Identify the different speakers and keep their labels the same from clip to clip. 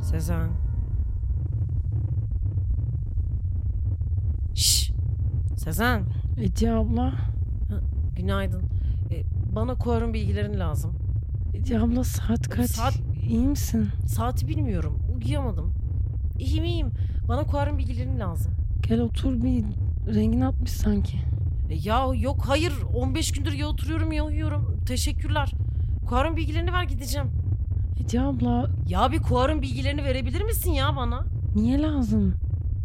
Speaker 1: Sezen. Şş. Sezen.
Speaker 2: Ece abla.
Speaker 1: Günaydın. E, bana kuarın bilgilerini lazım.
Speaker 2: Ece abla saat kaç?
Speaker 1: Saat-
Speaker 2: İyi misin?
Speaker 1: Saati bilmiyorum. Uyuyamadım. İyiyim iyiyim. Bana kuarın bilgilerini lazım.
Speaker 2: Gel otur bir rengin atmış sanki.
Speaker 1: E, ya yok hayır. 15 gündür ya oturuyorum ya uyuyorum. Teşekkürler. Kuarın bilgilerini ver gideceğim.
Speaker 2: Ece abla
Speaker 1: Ya bir kuarın bilgilerini verebilir misin ya bana?
Speaker 2: niye lazım?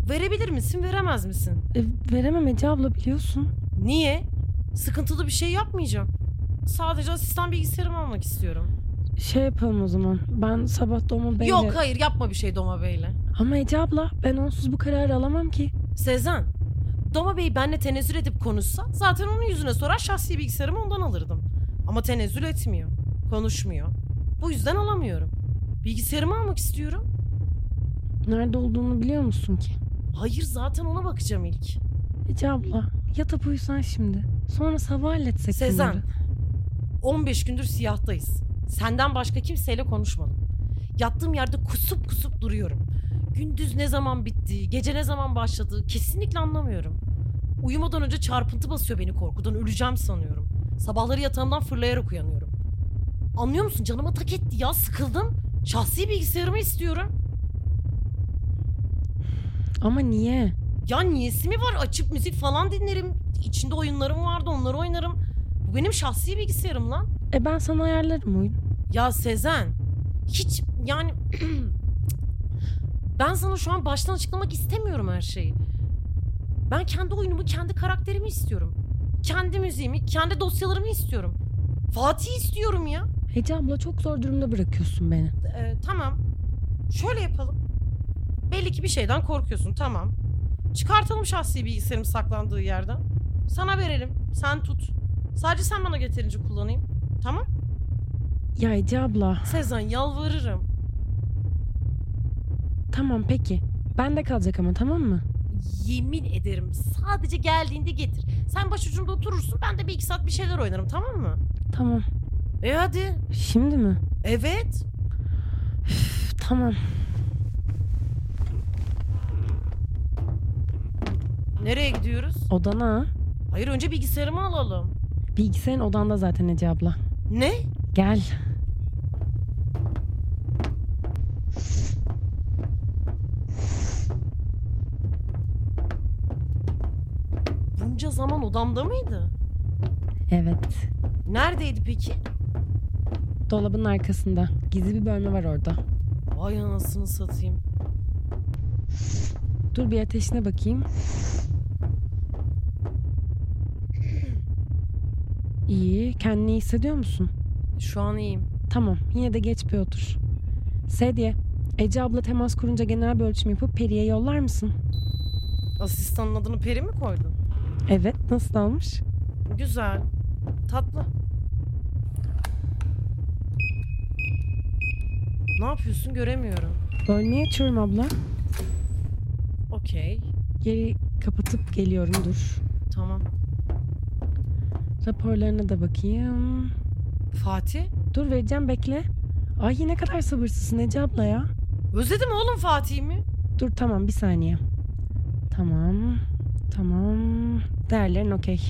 Speaker 1: Verebilir misin veremez misin?
Speaker 2: E, veremem Ece abla biliyorsun.
Speaker 1: Niye? Sıkıntılı bir şey yapmayacağım. Sadece asistan bilgisayarımı almak istiyorum.
Speaker 2: Şey yapalım o zaman. Ben sabah doğma beyle...
Speaker 1: Yok hayır yapma bir şey Doma Bey'le.
Speaker 2: Ama Ece abla ben onsuz bu kararı alamam ki.
Speaker 1: Sezen, Doma Bey benle tenezzül edip konuşsa zaten onun yüzüne sorar şahsi bilgisayarımı ondan alırdım. Ama tenezzül etmiyor. Konuşmuyor. Bu yüzden alamıyorum. Bilgisayarımı almak istiyorum.
Speaker 2: Nerede olduğunu biliyor musun ki?
Speaker 1: Hayır zaten ona bakacağım ilk.
Speaker 2: Ece abla yatıp uyusan şimdi. Sonra sabah halletsek
Speaker 1: Sezen.
Speaker 2: bunları.
Speaker 1: 15 gündür siyahtayız. Senden başka kimseyle konuşmadım. Yattığım yerde kusup kusup duruyorum. Gündüz ne zaman bitti, gece ne zaman başladı kesinlikle anlamıyorum. Uyumadan önce çarpıntı basıyor beni korkudan öleceğim sanıyorum. Sabahları yatağımdan fırlayarak uyanıyorum. Anlıyor musun canıma tak etti ya sıkıldım. Şahsi bilgisayarımı istiyorum.
Speaker 2: Ama niye?
Speaker 1: Ya niyesi mi var açıp müzik falan dinlerim. İçinde oyunlarım vardı onları oynarım. Bu benim şahsi bilgisayarım lan.
Speaker 2: E ben sana ayarlarım oyun.
Speaker 1: Ya Sezen hiç yani ben sana şu an baştan açıklamak istemiyorum her şeyi. Ben kendi oyunumu, kendi karakterimi istiyorum. Kendi müziğimi, kendi dosyalarımı istiyorum. Fatih istiyorum ya.
Speaker 2: Ece abla çok zor durumda bırakıyorsun beni.
Speaker 1: Ee, tamam. Şöyle yapalım. Belli ki bir şeyden korkuyorsun. Tamam. Çıkartalım şahsi bilgisayarımı saklandığı yerden. Sana verelim. Sen tut. Sadece sen bana getirince kullanayım. Tamam?
Speaker 2: Ya Ece abla
Speaker 1: Sezen yalvarırım.
Speaker 2: tamam peki. Bende kalacak ama tamam mı?
Speaker 1: Yemin ederim sadece geldiğinde getir. Sen başucumda oturursun ben de bir iki saat bir şeyler oynarım tamam mı?
Speaker 2: Tamam.
Speaker 1: E hadi.
Speaker 2: Şimdi mi?
Speaker 1: Evet.
Speaker 2: Üf, tamam.
Speaker 1: Nereye gidiyoruz?
Speaker 2: Odana.
Speaker 1: Hayır önce bilgisayarımı alalım.
Speaker 2: Bilgisayarın odanda zaten Ece abla.
Speaker 1: Ne?
Speaker 2: Gel.
Speaker 1: Bunca zaman odamda mıydı?
Speaker 2: Evet.
Speaker 1: Neredeydi peki?
Speaker 2: Dolabın arkasında. Gizli bir bölme var orada.
Speaker 1: Vay anasını satayım.
Speaker 2: Dur bir ateşine bakayım. İyi. Kendini iyi hissediyor musun?
Speaker 1: Şu an iyiyim.
Speaker 2: Tamam. Yine de geç bir otur. Sedye. Ece abla temas kurunca genel bir ölçüm yapıp Peri'ye yollar mısın?
Speaker 1: Asistanın adını Peri mi koydun?
Speaker 2: Evet. Nasıl almış?
Speaker 1: Güzel. Tatlı. Ne yapıyorsun göremiyorum.
Speaker 2: Bölmeyi açıyorum abla.
Speaker 1: Okey.
Speaker 2: Geri kapatıp geliyorum dur.
Speaker 1: Tamam.
Speaker 2: Raporlarına da bakayım.
Speaker 1: Fatih?
Speaker 2: Dur vereceğim bekle. Ay ne kadar sabırsızsın Ece abla ya.
Speaker 1: Özledim oğlum Fatih'imi.
Speaker 2: Dur tamam bir saniye. Tamam. Tamam. Değerlerin okey.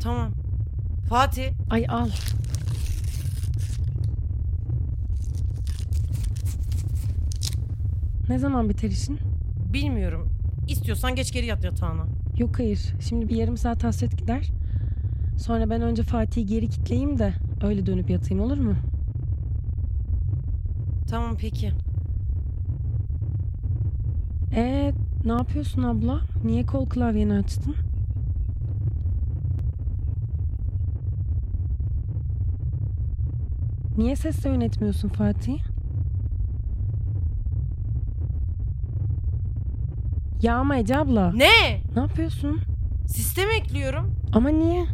Speaker 1: Tamam. Fatih.
Speaker 2: Ay al. Ne zaman biter işin?
Speaker 1: Bilmiyorum. İstiyorsan geç geri yat yatağına.
Speaker 2: Yok hayır. Şimdi bir yarım saat hasret gider. Sonra ben önce Fatih'i geri kitleyeyim de öyle dönüp yatayım olur mu?
Speaker 1: Tamam peki.
Speaker 2: Ee, ne yapıyorsun abla? Niye kol klavyeni açtın? Niye sesle yönetmiyorsun Fatih? Ya ama Ece abla.
Speaker 1: Ne?
Speaker 2: Ne yapıyorsun?
Speaker 1: Sistem ekliyorum.
Speaker 2: Ama niye?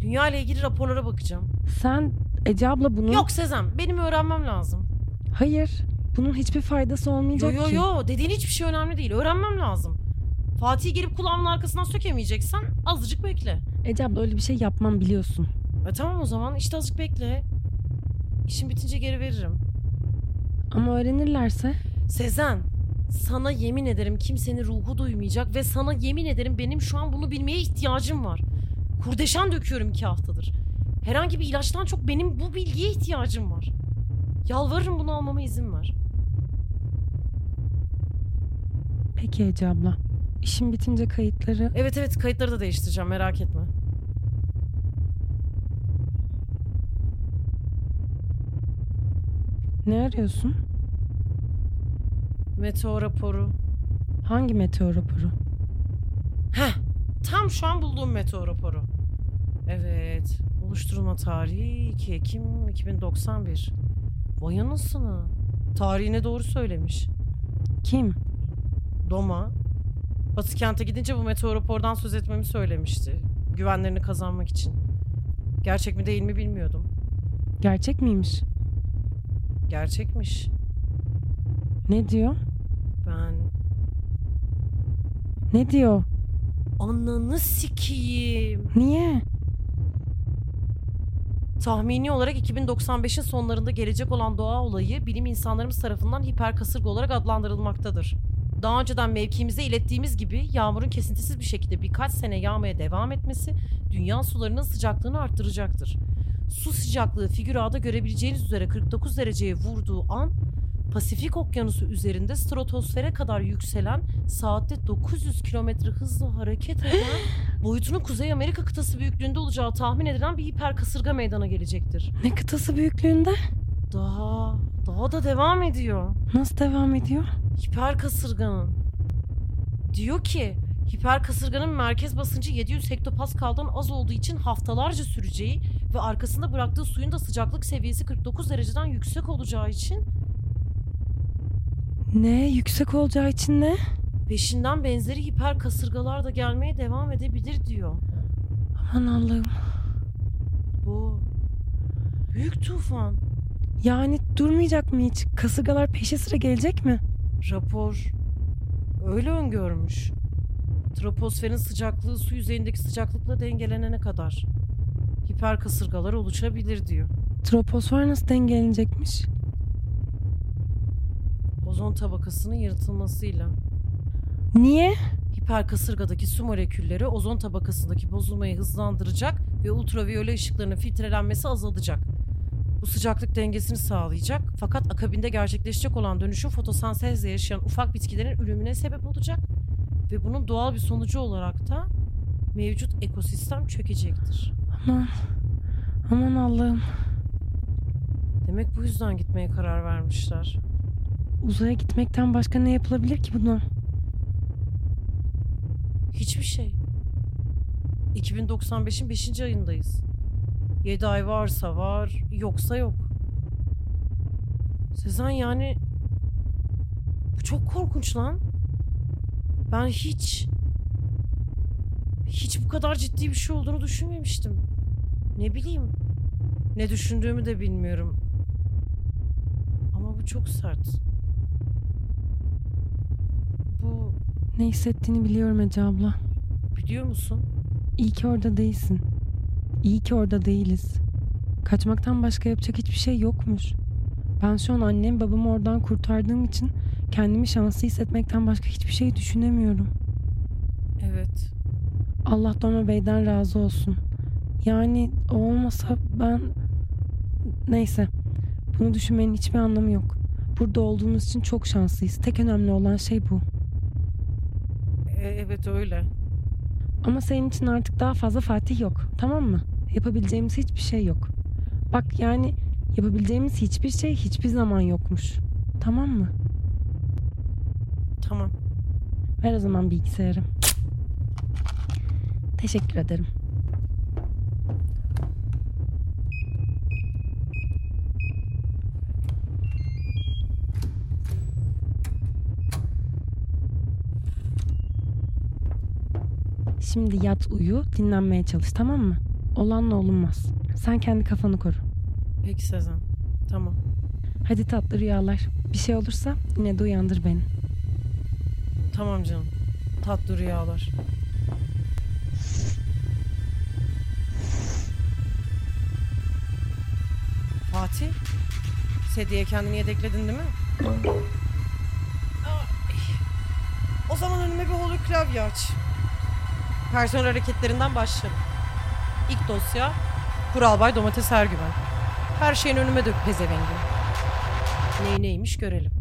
Speaker 1: Dünya ile ilgili raporlara bakacağım.
Speaker 2: Sen Ece abla bunu...
Speaker 1: Yok Sezen, benim öğrenmem lazım.
Speaker 2: Hayır. Bunun hiçbir faydası
Speaker 1: Yo
Speaker 2: olmayacak
Speaker 1: yo
Speaker 2: ki.
Speaker 1: yo, dediğin hiçbir şey önemli değil. Öğrenmem lazım. Fatih'i gelip kulağımın arkasından sökemeyeceksen azıcık bekle.
Speaker 2: Ece abla öyle bir şey yapmam biliyorsun.
Speaker 1: E tamam o zaman işte azıcık bekle. İşim bitince geri veririm.
Speaker 2: Ama öğrenirlerse
Speaker 1: Sezen sana yemin ederim kimsenin ruhu duymayacak ve sana yemin ederim benim şu an bunu bilmeye ihtiyacım var. Kurdeşen döküyorum iki haftadır. Herhangi bir ilaçtan çok benim bu bilgiye ihtiyacım var. Yalvarırım bunu almama izin ver.
Speaker 2: Peki Ece abla. İşim bitince kayıtları
Speaker 1: Evet evet kayıtları da değiştireceğim merak etme.
Speaker 2: ne arıyorsun?
Speaker 1: Meteo raporu.
Speaker 2: Hangi meteor raporu?
Speaker 1: Heh tam şu an bulduğum meteo raporu. Evet oluşturulma tarihi 2 Ekim 2091. Vay anasını. Tarihine doğru söylemiş.
Speaker 2: Kim?
Speaker 1: Doma. Batı kente gidince bu meteor rapordan söz etmemi söylemişti. Güvenlerini kazanmak için. Gerçek mi değil mi bilmiyordum.
Speaker 2: Gerçek miymiş?
Speaker 1: Gerçekmiş.
Speaker 2: Ne diyor?
Speaker 1: Ben
Speaker 2: Ne diyor?
Speaker 1: ananı sikiyim.
Speaker 2: Niye?
Speaker 1: Tahmini olarak 2095'in sonlarında gelecek olan doğa olayı bilim insanlarımız tarafından hiperkasırga olarak adlandırılmaktadır. Daha önceden mevkimize ilettiğimiz gibi yağmurun kesintisiz bir şekilde birkaç sene yağmaya devam etmesi dünya sularının sıcaklığını arttıracaktır. Su sıcaklığı figür A'da görebileceğiniz üzere 49 dereceye vurduğu an Pasifik Okyanusu üzerinde stratosfere kadar yükselen saatte 900 kilometre hızla hareket eden boyutunun Kuzey Amerika kıtası büyüklüğünde olacağı tahmin edilen bir hiper kasırga meydana gelecektir.
Speaker 2: Ne kıtası büyüklüğünde?
Speaker 1: Daha, daha da devam ediyor.
Speaker 2: Nasıl devam ediyor?
Speaker 1: Hiper kasırganın. Diyor ki hiper kasırganın merkez basıncı 700 hektopaskaldan az olduğu için haftalarca süreceği ve arkasında bıraktığı suyun da sıcaklık seviyesi 49 dereceden yüksek olacağı için
Speaker 2: Ne? Yüksek olacağı için ne?
Speaker 1: peşinden benzeri hiper kasırgalar da gelmeye devam edebilir diyor.
Speaker 2: Aman Allah'ım.
Speaker 1: Bu büyük tufan.
Speaker 2: Yani durmayacak mı hiç? Kasırgalar peşi sıra gelecek mi?
Speaker 1: Rapor öyle öngörmüş. Troposferin sıcaklığı su yüzeyindeki sıcaklıkla dengelenene kadar hiper kasırgalar oluşabilir diyor.
Speaker 2: Troposfer nasıl dengelenecekmiş?
Speaker 1: Ozon tabakasının yırtılmasıyla.
Speaker 2: Niye?
Speaker 1: Hiper kasırgadaki su molekülleri ozon tabakasındaki bozulmayı hızlandıracak ve ultraviyole ışıklarının filtrelenmesi azalacak. Bu sıcaklık dengesini sağlayacak fakat akabinde gerçekleşecek olan dönüşüm fotosentezle yaşayan ufak bitkilerin ürümüne sebep olacak ve bunun doğal bir sonucu olarak da mevcut ekosistem çökecektir.
Speaker 2: Aman. Aman Allah'ım.
Speaker 1: Demek bu yüzden gitmeye karar vermişler.
Speaker 2: Uzaya gitmekten başka ne yapılabilir ki buna?
Speaker 1: Hiçbir şey. 2095'in 5. ayındayız. 7 ay varsa var, yoksa yok. Sezen yani bu çok korkunç lan. Ben hiç hiç bu kadar ciddi bir şey olduğunu düşünmemiştim. Ne bileyim. Ne düşündüğümü de bilmiyorum. Ama bu çok sert. Bu
Speaker 2: Ne hissettiğini biliyorum Ece abla.
Speaker 1: biliyor musun?
Speaker 2: İyi ki orada değilsin. İyi ki orada değiliz. Kaçmaktan başka yapacak hiçbir şey yokmuş. Ben şu an annem babamı oradan kurtardığım için kendimi şanslı hissetmekten başka hiçbir şey düşünemiyorum.
Speaker 1: Evet.
Speaker 2: Allah Doma Bey'den razı olsun. Yani o olmasa ben... Neyse. Bunu düşünmenin hiçbir anlamı yok. Burada olduğumuz için çok şanslıyız. Tek önemli olan şey bu.
Speaker 1: E, Evet öyle.
Speaker 2: Ama senin için artık daha fazla Fatih yok. Tamam mı? Yapabileceğimiz hiçbir şey yok. Bak yani yapabileceğimiz hiçbir şey hiçbir zaman yokmuş. Tamam mı?
Speaker 1: Tamam.
Speaker 2: Ver o zaman bilgisayarı. Teşekkür ederim. Şimdi yat uyu, dinlenmeye çalış tamam mı? Olanla olunmaz. Sen kendi kafanı koru.
Speaker 1: Peki Sezen. Tamam.
Speaker 2: Hadi tatlı rüyalar. Bir şey olursa yine de uyandır beni.
Speaker 1: Tamam canım. Tatlı rüyalar. Fatih. Sediye kendini yedekledin değil mi? zaman önüme bir holo klavye aç. Personel hareketlerinden başlarım. İlk dosya Kuralbay Domates Ergüven. Her şeyin önüme dök pezevengin. Ney neymiş görelim.